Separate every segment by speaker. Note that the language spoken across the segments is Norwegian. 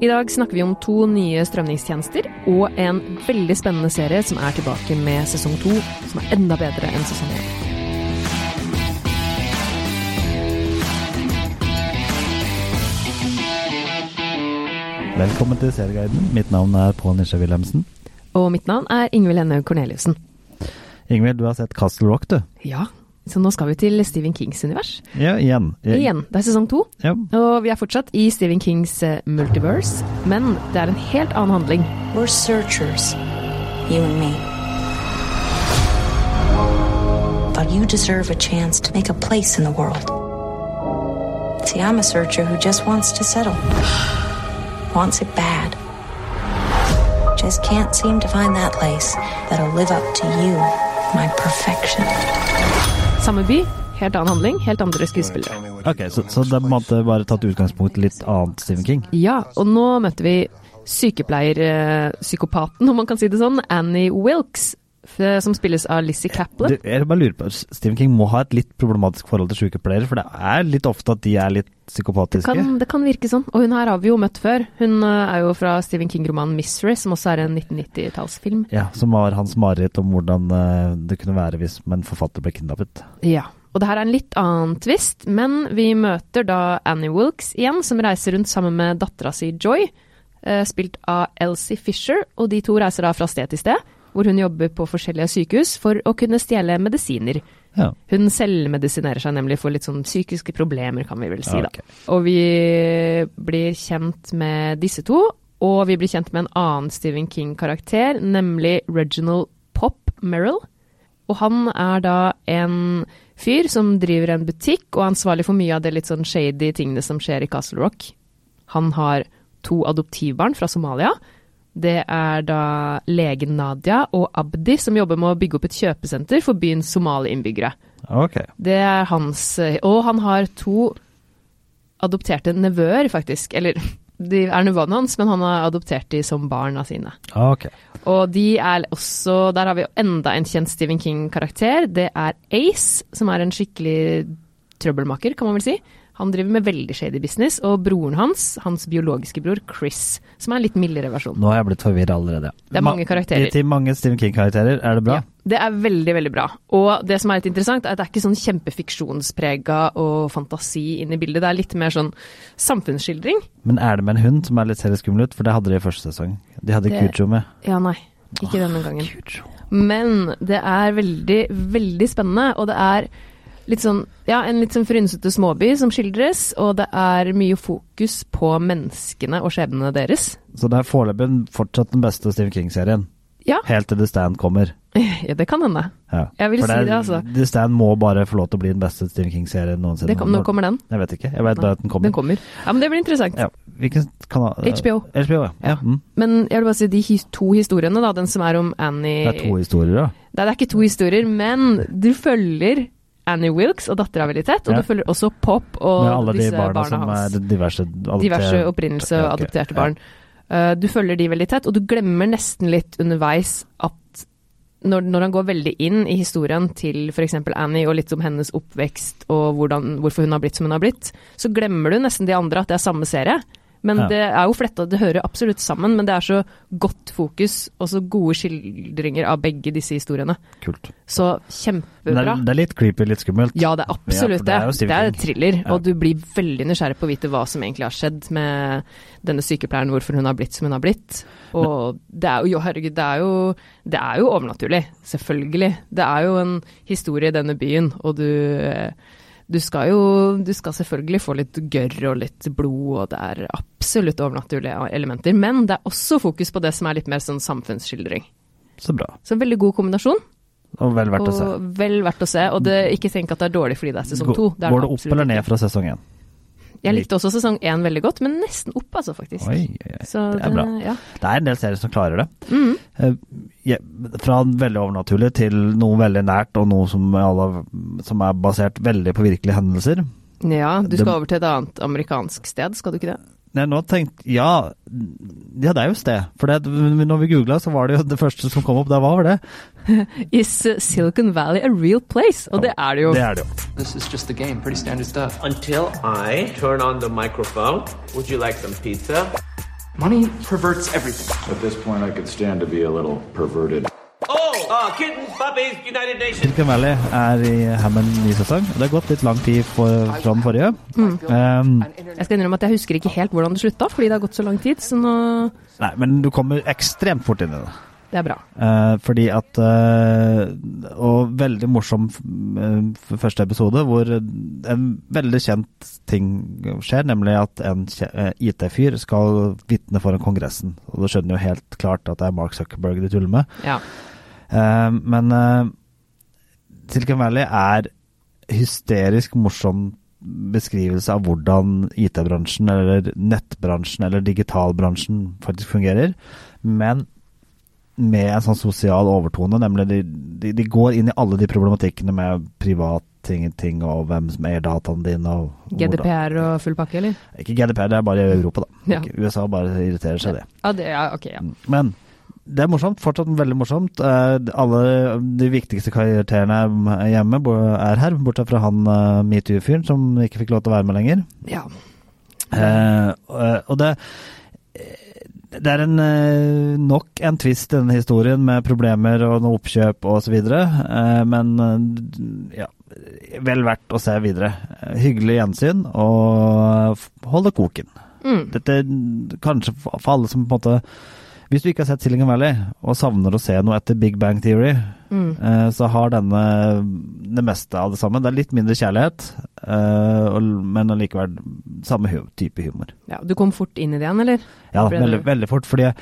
Speaker 1: I dag snakker vi om to nye strømningstjenester og en veldig spennende serie som er tilbake med sesong to, som er enda bedre enn sesong én.
Speaker 2: Velkommen til Serieguiden. Mitt navn er Pål Nisje Wilhelmsen.
Speaker 1: Og mitt navn er Ingvild Enne Korneliussen.
Speaker 2: Ingvild, du har sett Castle Rock, du.
Speaker 1: Ja, så nå skal vi til Stephen Kings univers.
Speaker 2: Ja, igjen. I-
Speaker 1: Igjen, det er sesong to.
Speaker 2: Ja.
Speaker 1: Og vi er fortsatt i Stephen Kings eh, multiverse, men det er en helt annen handling.
Speaker 3: We're searchers, you and me. But you deserve a chance to make a place in the world. See, I'm a searcher who just wants to settle, wants it bad. Just can't seem to find that place that'll live up to you, my perfection.
Speaker 1: Samme by, helt annen handling, helt andre skuespillere.
Speaker 2: Ok, så, så det er på en måte bare tatt utgangspunkt i litt annet Stephen King.
Speaker 1: Ja, og nå møter vi sykepleierpsykopaten, om man kan si det sånn, Annie Wilkes, f- som spilles av Lizzie
Speaker 2: Du,
Speaker 1: Caplan.
Speaker 2: jeg bare lurer på, S- Stephen King må ha et litt problematisk forhold til sykepleiere, for det er litt ofte at de er litt psykopatiske.
Speaker 1: Kan, det kan virke sånn, og hun her har vi jo møtt før. Hun eh, er jo fra Stephen King-romanen 'Misery', som også er en 1990-tallsfilm.
Speaker 2: Ja, Som var hans mareritt om hvordan eh, det kunne være hvis en forfatter ble kidnappet.
Speaker 1: Ja. Og det her er en litt annen twist, men vi møter da Annie Wilkes igjen, som reiser rundt sammen med dattera si Joy, eh, spilt av Elsie Fisher, og de to reiser da fra sted til sted, hvor hun jobber på forskjellige sykehus for å kunne stjele medisiner.
Speaker 2: Ja.
Speaker 1: Hun selvmedisinerer seg nemlig for litt sånn psykiske problemer, kan vi vel si da.
Speaker 2: Ok.
Speaker 1: Og vi blir kjent med disse to, og vi blir kjent med en annen Stephen King-karakter, nemlig Reginald Pop Merrill. Og han er da en fyr som driver en butikk og er ansvarlig for mye av det litt sånn shady tingene som skjer i Castle Rock. Han har to adoptivbarn fra Somalia. Det er da legen Nadia og Abdi som jobber med å bygge opp et kjøpesenter for byens somaliinnbyggere.
Speaker 2: Ok.
Speaker 1: Det er hans Og han har to adopterte nevøer, faktisk. Eller de er nevøene hans, men han har adoptert de som barn av sine.
Speaker 2: Ok.
Speaker 1: Og de er også Der har vi jo enda en kjent Stephen King-karakter. Det er Ace, som er en skikkelig trøbbelmaker, kan man vel si. Han driver med veldig shady business, og broren hans, hans biologiske bror Chris, som er en litt mildere versjon.
Speaker 2: Nå har jeg blitt forvirra allerede.
Speaker 1: Det er mange karakterer.
Speaker 2: Ma til mange Stephen King-karakterer, er det bra?
Speaker 1: Ja, det er veldig, veldig bra. Og det som er litt interessant, er at det er ikke sånn kjempefiksjonsprega og fantasi inn i bildet. Det er litt mer sånn samfunnsskildring.
Speaker 2: Men er det med en hund som er litt ser litt skummel ut? For det hadde de i første sesong. De hadde
Speaker 1: Det-
Speaker 2: Cujo med.
Speaker 1: Ja, nei. Ikke denne gangen. Men det er veldig, veldig spennende, og det er litt sånn, ja, en litt sånn frynsete småby som skildres, og det er mye fokus på menneskene og skjebnene deres.
Speaker 2: Så det er foreløpig den- fortsatt den beste Stephen King-serien.
Speaker 1: Ja.
Speaker 2: Helt til The Stand kommer.
Speaker 1: Ja, det kan hende.
Speaker 2: Ja.
Speaker 1: Jeg vil
Speaker 2: For
Speaker 1: si
Speaker 2: er-
Speaker 1: det, altså.
Speaker 2: The Stand må bare få lov til å bli den beste Stephen King-serien noensinne.
Speaker 1: Det kom, nå kommer den.
Speaker 2: Jeg vet ikke. Jeg vet bare at den kommer.
Speaker 1: Den kommer. Ja, men det blir interessant.
Speaker 2: Ja. Hvilken kanal?
Speaker 1: HBO.
Speaker 2: HBO, ja. ja. Mm.
Speaker 1: Men jeg vil bare si de his to historiene, da. Den som er om Annie
Speaker 2: Det er to historier, da.
Speaker 1: Nei, det er ikke to historier, men du følger Annie Wilkes og dattera veldig tett, og du
Speaker 2: Ja.
Speaker 1: følger også Pop og
Speaker 2: Med alle de
Speaker 1: disse
Speaker 2: barna,
Speaker 1: barna,
Speaker 2: som
Speaker 1: hans.
Speaker 2: er diverse adopter-
Speaker 1: Diverse opprinnelse og
Speaker 2: Ja, ok.
Speaker 1: adopterte barn. Eh, Du følger de veldig tett, og du glemmer nesten litt underveis at når, når han går veldig inn i historien til f.eks. Annie og litt om hennes oppvekst og hvordan, hvorfor hun har blitt som hun har blitt, så glemmer du nesten de andre at det er samme serie. Men
Speaker 2: Ja.
Speaker 1: det er jo fletta, det hører absolutt sammen, men det er så godt fokus og så gode skildringer av begge disse historiene.
Speaker 2: Ja, kult.
Speaker 1: Så
Speaker 2: Men det
Speaker 1: kjempebra.
Speaker 2: er, det er litt creepy, litt skummelt.
Speaker 1: Ja, det er absolutt
Speaker 2: Ja, for det er jo
Speaker 1: det.
Speaker 2: Stephen
Speaker 1: Det er
Speaker 2: King.
Speaker 1: thriller,
Speaker 2: Ja.
Speaker 1: og du blir veldig nysgjerrig på å vite hva som egentlig har skjedd med denne sykepleieren, hvorfor hun har blitt som hun har blitt. Og det er jo, jo herregud, det er jo, det er jo overnaturlig. Selvfølgelig. Det er jo en historie i denne byen, og du eh, du skal jo du skal selvfølgelig få litt gørr og litt blod, og det er absolutt overnaturlige elementer. Men det er også fokus på det som er litt mer sånn samfunnsskildring.
Speaker 2: Så bra.
Speaker 1: Så en veldig god kombinasjon.
Speaker 2: Og vel verdt å se.
Speaker 1: Og vel verdt å se. Og det, ikke tenk at det er dårlig fordi det er sesong
Speaker 2: Går-
Speaker 1: to. er
Speaker 2: Går det opp
Speaker 1: absolutt
Speaker 2: eller ned
Speaker 1: ikke.
Speaker 2: fra sesong én?
Speaker 1: Jeg likte også sesong én veldig godt, men nesten opp, altså, faktisk.
Speaker 2: Oi, oi, oi.
Speaker 1: Så
Speaker 2: det er bra.
Speaker 1: Ja.
Speaker 2: Det er en del serier som klarer det. Eh, ja, fra veldig overnaturlig til noe veldig nært, og noe som, alle, som er basert veldig på virkelige hendelser.
Speaker 1: ja, du
Speaker 2: Det-
Speaker 1: skal over til et annet amerikansk sted, skal du ikke det?
Speaker 2: Nei, nå tenkte, ja, ja, det er jo sted. For det, når vi googla, så var det jo det første som kom opp. Der var det.
Speaker 1: Is uh, Silicon Valley a real place? Og det er det jo.
Speaker 2: Det er det jo.
Speaker 4: This is just the game. Pretty standard stuff.
Speaker 5: Until I turn on the microphone, would you like some pizza?
Speaker 4: Money perverts everything.
Speaker 5: At this point, I could stand to be a little perverted.
Speaker 6: Oh, uh, kittens, puppies, United Nations.
Speaker 2: Silicon Valley er i Hammond ny sesong. Det har gått litt lang tid for, fra den forrige. Um,
Speaker 1: Jeg skal innrømme at jeg husker ikke helt hvordan det slutta, fordi det har gått så lang tid, så nå
Speaker 2: nei, men du kommer ekstremt fort inn i det.
Speaker 1: Det er bra.
Speaker 2: Eh, fordi at eh, Og veldig morsom eh, f- første episode hvor en veldig kjent ting skjer, nemlig at en kje- eh, IT-fyr skal vitne foran Kongressen. Og du skjønner jo helt klart at det er Mark Zuckerberg de tuller med.
Speaker 1: Ja.
Speaker 2: Eh, men eh, Silicon Valley er hysterisk morsom beskrivelse av hvordan IT-bransjen eller nettbransjen eller digitalbransjen faktisk fungerer, men med en sånn sosial overtone, nemlig de, de, de går inn i alle de problematikkene med privat ting, ting og hvem som eier dataene dine og hvordan-
Speaker 1: GDPR og full pakke, eller?
Speaker 2: Ikke GDPR, det er bare i Europa, da.
Speaker 1: Ja.
Speaker 2: Ikke- USA bare irriterer seg det.
Speaker 1: Ja, det, ja ok, ja.
Speaker 2: Men det er morsomt. Fortsatt veldig morsomt. Eh, alle de viktigste karakterene er hjemme bo- er her, bortsett fra han eh, metoo-fyren som ikke fikk lov til å være med lenger.
Speaker 1: ja.
Speaker 2: Eh, og- og det det er en, eh, nok en twist i denne historien med problemer og noe oppkjøp osv. Uh, men eh, ja, vel verdt å se videre. Eh, Hyggelig gjensyn, og f- hold det koken.
Speaker 1: Mm.
Speaker 2: Dette kanskje for for alle som på en måte Hvis du ikke har sett Silicon Valley og savner å se noe etter Big Bang Theory,
Speaker 1: Mm.
Speaker 2: eh, så har denne det meste av det samme. Det er litt mindre kjærlighet, eh, og- men allikevel samme hu type humor.
Speaker 1: ja. Du kom fort inn i det igjen, eller?
Speaker 2: Ja, da,
Speaker 1: Ble det-
Speaker 2: veldig, veldig fort, fordi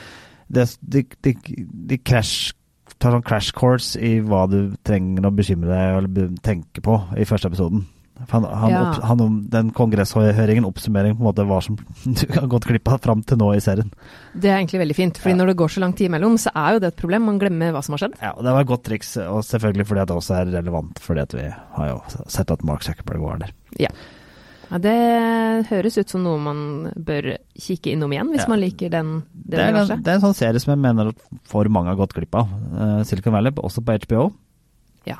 Speaker 2: det, de, de, de crash, tar sånn crash course i hva du trenger å bekymre deg eller be- tenke på i første episoden. For Han, han,
Speaker 1: Ja.
Speaker 2: opp, han, den kongresshøringen, oppsummering på en måte hva som du har gått glipp av fram til nå i serien.
Speaker 1: Det er egentlig veldig fint, fordi
Speaker 2: Ja.
Speaker 1: når det går så lang tid imellom, så er jo det et problem. Man glemmer hva som har skjedd.
Speaker 2: Ja, og Det var et godt triks, og selvfølgelig fordi at det også er relevant, fordi at vi har jo sett at Mark Zuckerberg var der.
Speaker 1: Ja, det høres ut som noe man bør kikke innom igjen, hvis
Speaker 2: Ja.
Speaker 1: man liker den,
Speaker 2: Det
Speaker 1: det
Speaker 2: er, en,
Speaker 1: universet.
Speaker 2: det er en sånn serie som jeg mener at for mange har gått glipp av. Eh, Silicon Valley, også på HBO.
Speaker 1: Ja.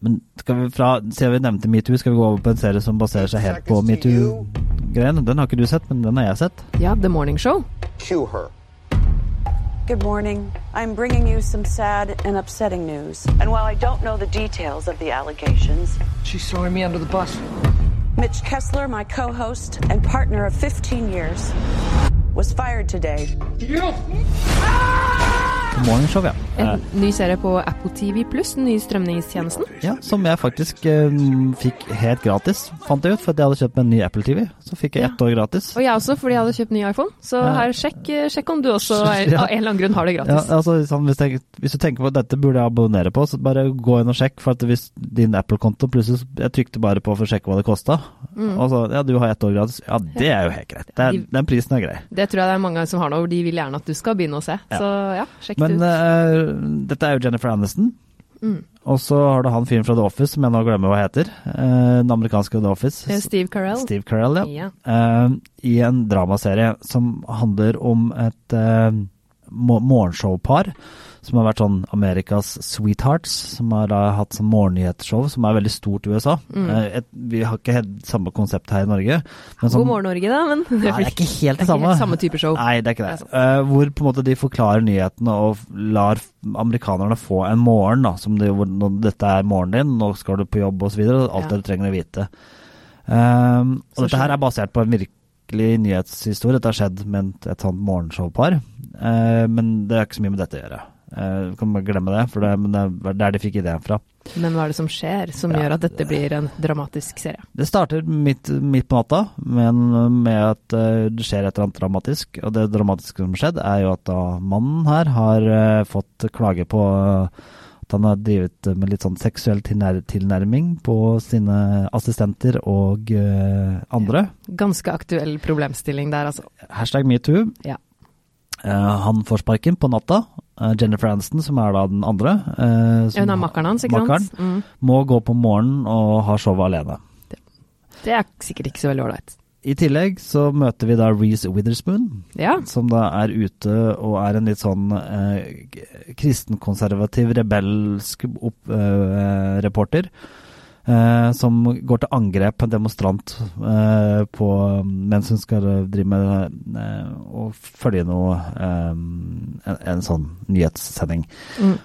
Speaker 2: Men skal vi fra, siden vi nevnte metoo, skal vi gå over på en serie som baserer seg helt på metoo-greien. Den har ikke du sett, men den har jeg sett.
Speaker 1: Ja, The Morning Show.
Speaker 7: Cue her.
Speaker 8: Good morning. I'm bringing you some sad and upsetting news. And while I don't know the details of the allegations,
Speaker 4: She's throwing me under the bus.
Speaker 8: Mitch Kessler, my co host and partner of 15 years, was fired today.
Speaker 2: Morning Show, ja. Eh,
Speaker 1: En ny serie på Apple TV pluss, den nye strømningstjenesten.
Speaker 2: ja som jeg faktisk eh, fikk helt gratis, fant jeg ut, for at jeg hadde kjøpt meg en ny Apple TV. Så fikk jeg ett år gratis.
Speaker 1: Og jeg også, fordi jeg hadde kjøpt ny iPhone. Så
Speaker 2: Ja.
Speaker 1: her, sjekk, sjekk om du også
Speaker 2: Ja.
Speaker 1: er, av en eller annen grunn har det
Speaker 2: Ja,
Speaker 1: gratis.
Speaker 2: altså, sånn, hvis, jeg, hvis du tenker på at dette burde jeg abonnere på, så bare gå inn og sjekk. For at hvis din Apple-konto plutselig Jeg trykte bare på for å sjekke hva det kosta.
Speaker 1: Mm.
Speaker 2: Og så ja, du har ett år gratis. Ja, det er jo helt greit. Det er,
Speaker 1: De-
Speaker 2: den prisen er grei.
Speaker 1: Det tror jeg det er mange som har nå, hvor de vil gjerne at du skal begynne å se. Så ja, sjekk
Speaker 2: Men
Speaker 1: det ut. Mm.
Speaker 2: eh, dette er jo Jennifer Aniston. Og så har du han fyren fra The Office som jeg nå glemmer hva heter. Eh, den amerikanske The Office.
Speaker 1: Eh, Steve Carell.
Speaker 2: Steve Carell, ja.
Speaker 1: Ja.
Speaker 2: Eh, I en dramaserie som handler om et eh, mo- morgenshowpar som har vært sånn Amerikas Sweethearts, som har da hatt sånn morgennyhetsshow som er veldig stort i USA.
Speaker 1: Mm.
Speaker 2: Eh, et, vi har ikke helt samme konsept her i Norge. men sånn-
Speaker 1: God morgen, Norge, da, men
Speaker 2: Nei, det er ikke helt det samme.
Speaker 1: helt samme type show.
Speaker 2: Nei, det er ikke
Speaker 1: Det er
Speaker 2: det. Eh, hvor på en måte de forklarer nyhetene og f- lar f- amerikanerne få en morgen, da, som de, hvor, nå- dette er morgenen din, nå skal du på jobb osv. Alt
Speaker 1: Ja.
Speaker 2: det du trenger å vite. Ehm, og
Speaker 1: Så
Speaker 2: dette her
Speaker 1: skjønner.
Speaker 2: er basert på en virkelig nyhetshistorie. Dette har skjedd med et, et sånt morgenshowpar, Eh, men det er ikke så mye med dette å gjøre. Eh, kan bare glemme det, for det, men det er der de fikk ideen fra.
Speaker 1: Men hva er det som skjer som
Speaker 2: Ja.
Speaker 1: gjør at dette blir en dramatisk serie?
Speaker 2: Det starter midt, midt på natta, men med at eh, det skjer et eller annet dramatisk. Og det dramatiske som har skjedd, er jo at da mannen her har eh, fått klage på eh, at han har drevet med litt sånn seksuell tilnær tilnærming på sine assistenter og eh, andre.
Speaker 1: Ganske aktuell problemstilling der, altså.
Speaker 2: Hashtag metoo.
Speaker 1: Ja.
Speaker 2: Eh, han får sparken på natta. Eh, Jennifer Aniston, som er da den andre, eh,
Speaker 1: Ja,
Speaker 2: som
Speaker 1: Hun er makkeren hans, ikke
Speaker 2: makkeren,
Speaker 1: sant? Mm.
Speaker 2: må gå på morgenen og ha showet alene.
Speaker 1: Det er sikkert ikke så veldig ålreit.
Speaker 2: I tillegg så møter vi da Reece Witherspoon,
Speaker 1: Ja.
Speaker 2: som da er ute og er en litt sånn eh, k- kristenkonservativ, rebelsk opp, eh, reporter. eh, som går til angrep på en demonstrant eh, på, mens hun skal eh, drive med eh, å følge noe eh, en, en sånn nyhetssending.
Speaker 1: Mm.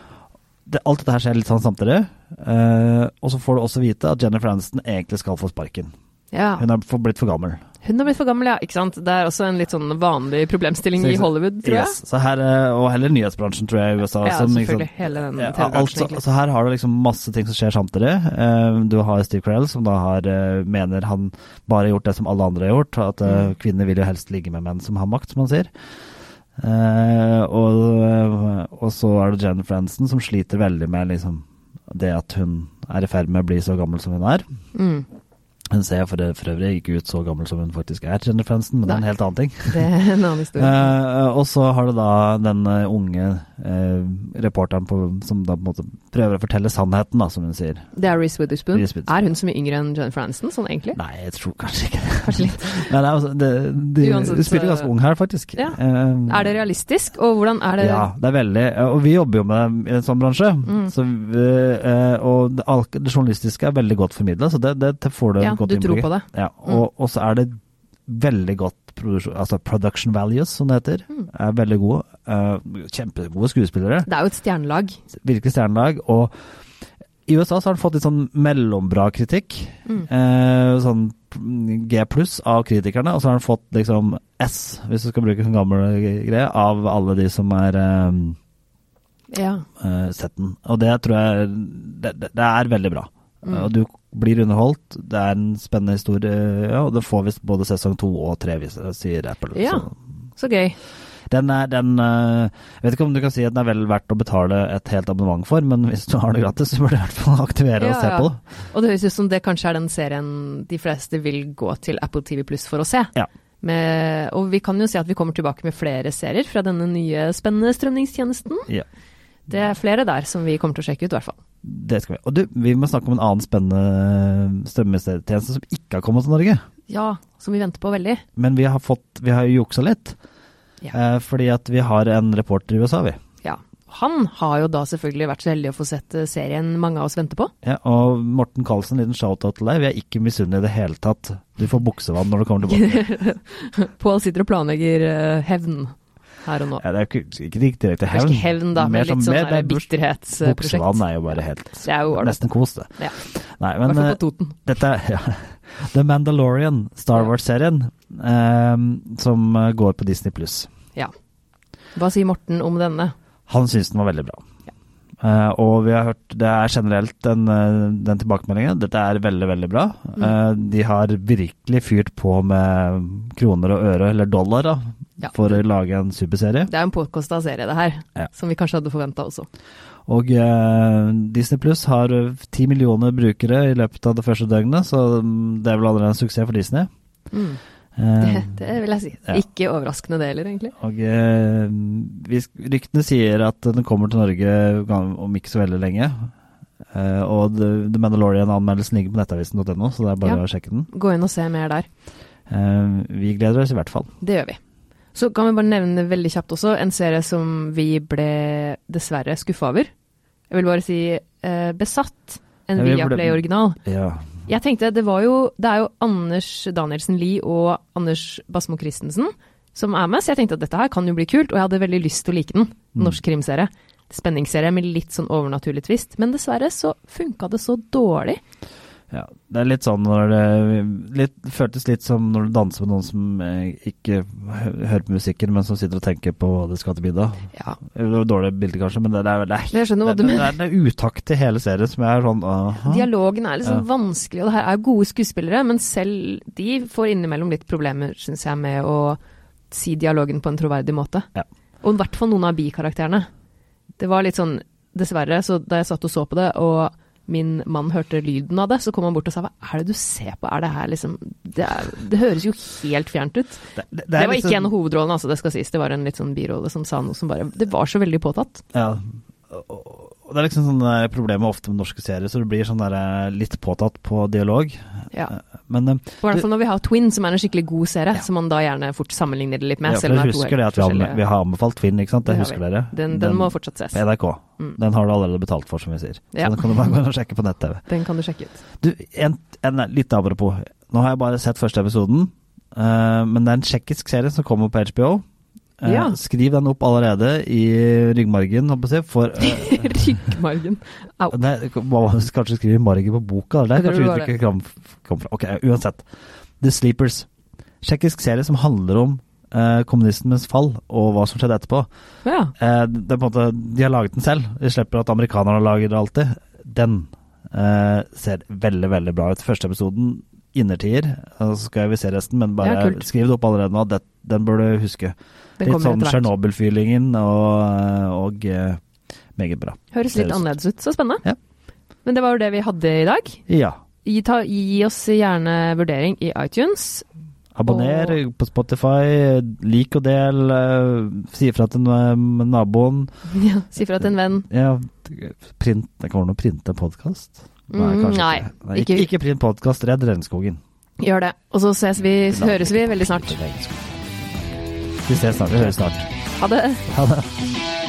Speaker 2: Det, alt dette her skjer litt sånn samtidig. eh, og så får du også vite at Jennifer Aniston egentlig skal få sparken.
Speaker 1: Ja.
Speaker 2: Hun er for, blitt for gammel.
Speaker 1: Hun har blitt for gammel, ja. Ikke sant? Det er også en litt sånn vanlig problemstilling
Speaker 2: Så ikke
Speaker 1: i
Speaker 2: sant?
Speaker 1: Hollywood, tror jeg.
Speaker 2: Yes. Så her, eh, og heller nyhetsbransjen, tror jeg, i USA.
Speaker 1: Ja,
Speaker 2: som, ikke
Speaker 1: selvfølgelig.
Speaker 2: sant-
Speaker 1: Hele den
Speaker 2: Ja, alt,
Speaker 1: TV-bransjen,
Speaker 2: så,
Speaker 1: egentlig.
Speaker 2: så her har du liksom masse ting som skjer samtidig. Eh, Du har Steve Carell, som da har, eh, mener han bare har gjort det som alle andre har gjort. At eh,
Speaker 1: Mm.
Speaker 2: kvinner vil jo helst ligge med menn som har makt, som han sier. Eh, og, eh, og så er det Jennifer Aniston, som sliter veldig med liksom, det at hun er i ferd med å bli så gammel som hun er.
Speaker 1: Mm.
Speaker 2: Hun ser for, for øvrig ikke ut så gammel som hun faktisk er, Jennifer Aniston, men det er en
Speaker 1: Nei.
Speaker 2: helt annen ting.
Speaker 1: Det er en annen historie.
Speaker 2: Eh, og så har du da den eh, unge eh, reporteren på, som da på en måte prøver å fortelle sannheten, da, som hun sier.
Speaker 1: Det er Reece Witherspoon.
Speaker 2: Reese Witherspoon.
Speaker 1: Er hun så mye yngre enn Jennifer Aniston, sånn egentlig?
Speaker 2: Nei, jeg tror kanskje ikke det.
Speaker 1: Kanskje litt.
Speaker 2: Men det er altså, det, de
Speaker 1: Uansett,
Speaker 2: de spiller
Speaker 1: så-
Speaker 2: ganske ung her, faktisk.
Speaker 1: Ja.
Speaker 2: Eh,
Speaker 1: Er det realistisk, og hvordan er det
Speaker 2: Ja, det er veldig. Eh, Og vi jobber jo med det i en sånn bransje.
Speaker 1: Mm.
Speaker 2: Så, vi- eh, og det, al- det journalistiske er veldig godt formidla, så det, det, det får du
Speaker 1: Ja,
Speaker 2: godt
Speaker 1: du tror
Speaker 2: innblikk i.
Speaker 1: på det. Mm.
Speaker 2: Ja, og, og så er det veldig godt produksjon, altså production values, som det heter.
Speaker 1: Mm.
Speaker 2: Er veldig gode. Eh, kjempegode skuespillere.
Speaker 1: Det er jo et stjernelag.
Speaker 2: virkelig stjernelag. Og i USA så har den fått litt sånn mellombra kritikk. Eh, sånn G pluss av kritikerne, og så har den fått liksom S, hvis du skal bruke sånn gammel greie, av alle de som er eh,
Speaker 1: Ja.
Speaker 2: eh, sett den. Og det tror jeg Det, det, det er veldig bra. Eh, Og du blir underholdt, det er en spennende historie, ja, og det får visst både sesong to og tre, vis- sier Apple.
Speaker 1: Ja.
Speaker 2: Så
Speaker 1: Så gøy.
Speaker 2: den er, den, eh, jeg vet ikke om du kan si at den er vel verdt å betale et helt abonnement for, men hvis du har det gratis, så burde du i hvert fall aktivere og
Speaker 1: Ja,
Speaker 2: se
Speaker 1: ja.
Speaker 2: på det.
Speaker 1: Og det høres ut som det kanskje er den serien de fleste vil gå til Apple TV Pluss for å se.
Speaker 2: Ja.
Speaker 1: Med, og vi kan jo si at vi kommer tilbake med flere serier fra denne nye spennende strømningstjenesten.
Speaker 2: Ja,
Speaker 1: Det er flere der som vi kommer til å sjekke ut, i hvert fall.
Speaker 2: det skal vi. Og du, vi må snakke om en annen spennende eh, strømmetjeneste som ikke har kommet til Norge.
Speaker 1: Ja, som vi venter på veldig.
Speaker 2: Men vi har, fått, vi har jo juksa litt,
Speaker 1: Ja.
Speaker 2: eh, fordi at vi har en reporter i USA, vi.
Speaker 1: Ja. Han har jo da selvfølgelig vært så heldig å få sett eh, serien mange av oss venter på.
Speaker 2: Ja, og Morten Karlsen, liten shout-out til deg. Vi er ikke misunnelige i det hele tatt. Du får buksevann når du kommer tilbake.
Speaker 1: Pål sitter og planlegger eh, hevn her og nå.
Speaker 2: Ja, det er jo ikke, ikke riktig
Speaker 1: Kanskje
Speaker 2: direkte Eh, hevn.
Speaker 1: ikke hevn, da, men litt sånn der bitterhetsprosjekt.
Speaker 2: Buksevann er jo bare helt
Speaker 1: Det er jo ålreit.
Speaker 2: Nesten kos, det.
Speaker 1: Ja.
Speaker 2: Nei,
Speaker 1: I hvert
Speaker 2: men
Speaker 1: fall
Speaker 2: eh,
Speaker 1: på Toten.
Speaker 2: dette er ja. The Mandalorian, Star
Speaker 1: Ja.
Speaker 2: Wars-serien, eh, som eh, går på Disney pluss.
Speaker 1: Ja. Hva sier Morten om denne?
Speaker 2: Han syns den var veldig bra. Eh, og vi har hørt Det er generelt den, eh, den tilbakemeldingen. Dette er veldig, veldig bra.
Speaker 1: Mm.
Speaker 2: Eh, de har virkelig fyrt på med kroner og øre, eller dollar, da,
Speaker 1: Ja.
Speaker 2: for å lage en superserie.
Speaker 1: Det er jo en påkosta serie, det her.
Speaker 2: Ja.
Speaker 1: Som vi kanskje hadde forventa også.
Speaker 2: Og eh, Disney Pluss har eh, ti millioner brukere i løpet av det første døgnet, så mm, det er vel allerede en suksess for Disney. Eh,
Speaker 1: Mm. Det, det vil jeg si.
Speaker 2: Ja.
Speaker 1: Ikke overraskende det heller, egentlig.
Speaker 2: Og eh, vi, ryktene sier at den kommer til Norge gan- om ikke så veldig lenge. Eh, og The The Mandalorian-anmeldelsen ligger på nettavisen.no, så det er bare
Speaker 1: Ja.
Speaker 2: å sjekke den.
Speaker 1: Gå inn og se mer der.
Speaker 2: Eh, vi gleder oss i hvert fall.
Speaker 1: Det gjør vi. Så kan vi bare nevne veldig kjapt også en serie som vi ble dessverre skuffa over. Jeg vil bare si eh, besatt. En
Speaker 2: Ja, vi ble-
Speaker 1: Viaplay-original.
Speaker 2: Ja.
Speaker 1: Jeg tenkte det var jo Det er jo Anders Danielsen Lie og Anders Basmo Christensen som er med, så jeg tenkte at dette her kan jo bli kult, og jeg hadde veldig lyst til å like den. Norsk krimserie. Spenningsserie med litt sånn overnaturlig twist. Men dessverre så funka det så dårlig.
Speaker 2: ja. Det er litt sånn når det litt, det føltes litt som når du danser med noen som eh, ikke hø hører på musikken, men som sitter og tenker på hva de skal til middag.
Speaker 1: Ja.
Speaker 2: Det var Dårlig bilde, kanskje, men det, det er, det, er,
Speaker 1: Jeg skjønner hva
Speaker 2: det,
Speaker 1: du
Speaker 2: det, er, det er utakt til hele serien som jeg er sånn aha.
Speaker 1: Dialogen er liksom
Speaker 2: Ja.
Speaker 1: vanskelig, og det her er jo gode skuespillere, men selv de får innimellom litt problemer, syns jeg, med å si dialogen på en troverdig måte.
Speaker 2: Ja.
Speaker 1: Og i hvert fall noen av bikarakterene. Det var litt sånn, dessverre, så da jeg satt og så på det, og min mann hørte lyden av det, så kom han bort og sa hva er det du ser på, er det her liksom Det, er, det høres jo helt fjernt ut.
Speaker 2: Det, det- det er
Speaker 1: Det var
Speaker 2: liksom-
Speaker 1: ikke en av hovedrollene, altså, det skal sies. Det var en litt sånn birolle som sa noe som bare Det var så veldig påtatt.
Speaker 2: Ja. Og det er liksom sånn eh, problemet ofte med norske serier, så det blir sånn der eh, litt påtatt på dialog.
Speaker 1: Ja.
Speaker 2: Eh, Men eh,
Speaker 1: Og I hvert fall når vi har Twin, som er en skikkelig god serie, som man da gjerne fort sammenligner det litt med.
Speaker 2: ja,
Speaker 1: selv om
Speaker 2: dere
Speaker 1: det er to
Speaker 2: husker det
Speaker 1: helt
Speaker 2: at vi, anme-
Speaker 1: forskjellige-
Speaker 2: vi har anbefalt Finn, ikke sant? Det,
Speaker 1: Det har
Speaker 2: husker
Speaker 1: vi.
Speaker 2: dere?
Speaker 1: Den, den må fortsatt ses.
Speaker 2: NRK.
Speaker 1: Mm.
Speaker 2: Den har du allerede betalt for, som vi sier.
Speaker 1: Ja.
Speaker 2: Så den kan du bare gå inn og sjekke på nett-TV.
Speaker 1: Den kan du sjekke ut.
Speaker 2: Du, en, en litt apropos. Nå har jeg bare sett første episoden, eh, men det er en tsjekkisk serie som kommer på HBO. Eh,
Speaker 1: Ja.
Speaker 2: Skriv den opp allerede i ryggmargen, holdt på å si, for eh,
Speaker 1: Ryggmargen. Au.
Speaker 2: Nei, hva var det som kanskje skriver margen på boka?
Speaker 1: Jeg
Speaker 2: Det er
Speaker 1: tror
Speaker 2: kanskje
Speaker 1: det var
Speaker 2: uttrykket kom, kom fra. Ok, uansett. The Sleepers. Tsjekkisk serie som handler om eh, kommunismens fall og hva som skjedde etterpå.
Speaker 1: Ja.
Speaker 2: Eh, det er på en måte, de har laget den selv. De slipper at amerikanerne lager det alltid. Den eh, ser veldig, veldig bra ut. Første episoden innertier. Så skal vi se resten, men bare
Speaker 1: Ja, kult.
Speaker 2: skriv det opp allerede nå. Det, den bør du huske.
Speaker 1: Den
Speaker 2: Litt
Speaker 1: kommer
Speaker 2: sånn
Speaker 1: etter hvert.
Speaker 2: Tsjernobyl-feelingen og, og eh, meget bra.
Speaker 1: Høres litt
Speaker 2: Seriøst.
Speaker 1: annerledes ut. Så spennende.
Speaker 2: Ja.
Speaker 1: Men det var jo det vi hadde i dag.
Speaker 2: Ja.
Speaker 1: Gi, ta, gi oss gjerne vurdering i iTunes.
Speaker 2: Abonner på Spotify, lik og del, eh, si ifra til eh, naboen.
Speaker 1: Ja, si fra til en venn.
Speaker 2: Ja, print, det kommer an å printe podkast?
Speaker 1: Mm, nei,
Speaker 2: ikke,
Speaker 1: ikke-
Speaker 2: ikke print podkast, redd regnskogen.
Speaker 1: Gjør det. Og så ses vi, høres vi veldig snart.
Speaker 2: Vi ses snart, vi høres snart.
Speaker 1: Ha det.
Speaker 2: Ha det.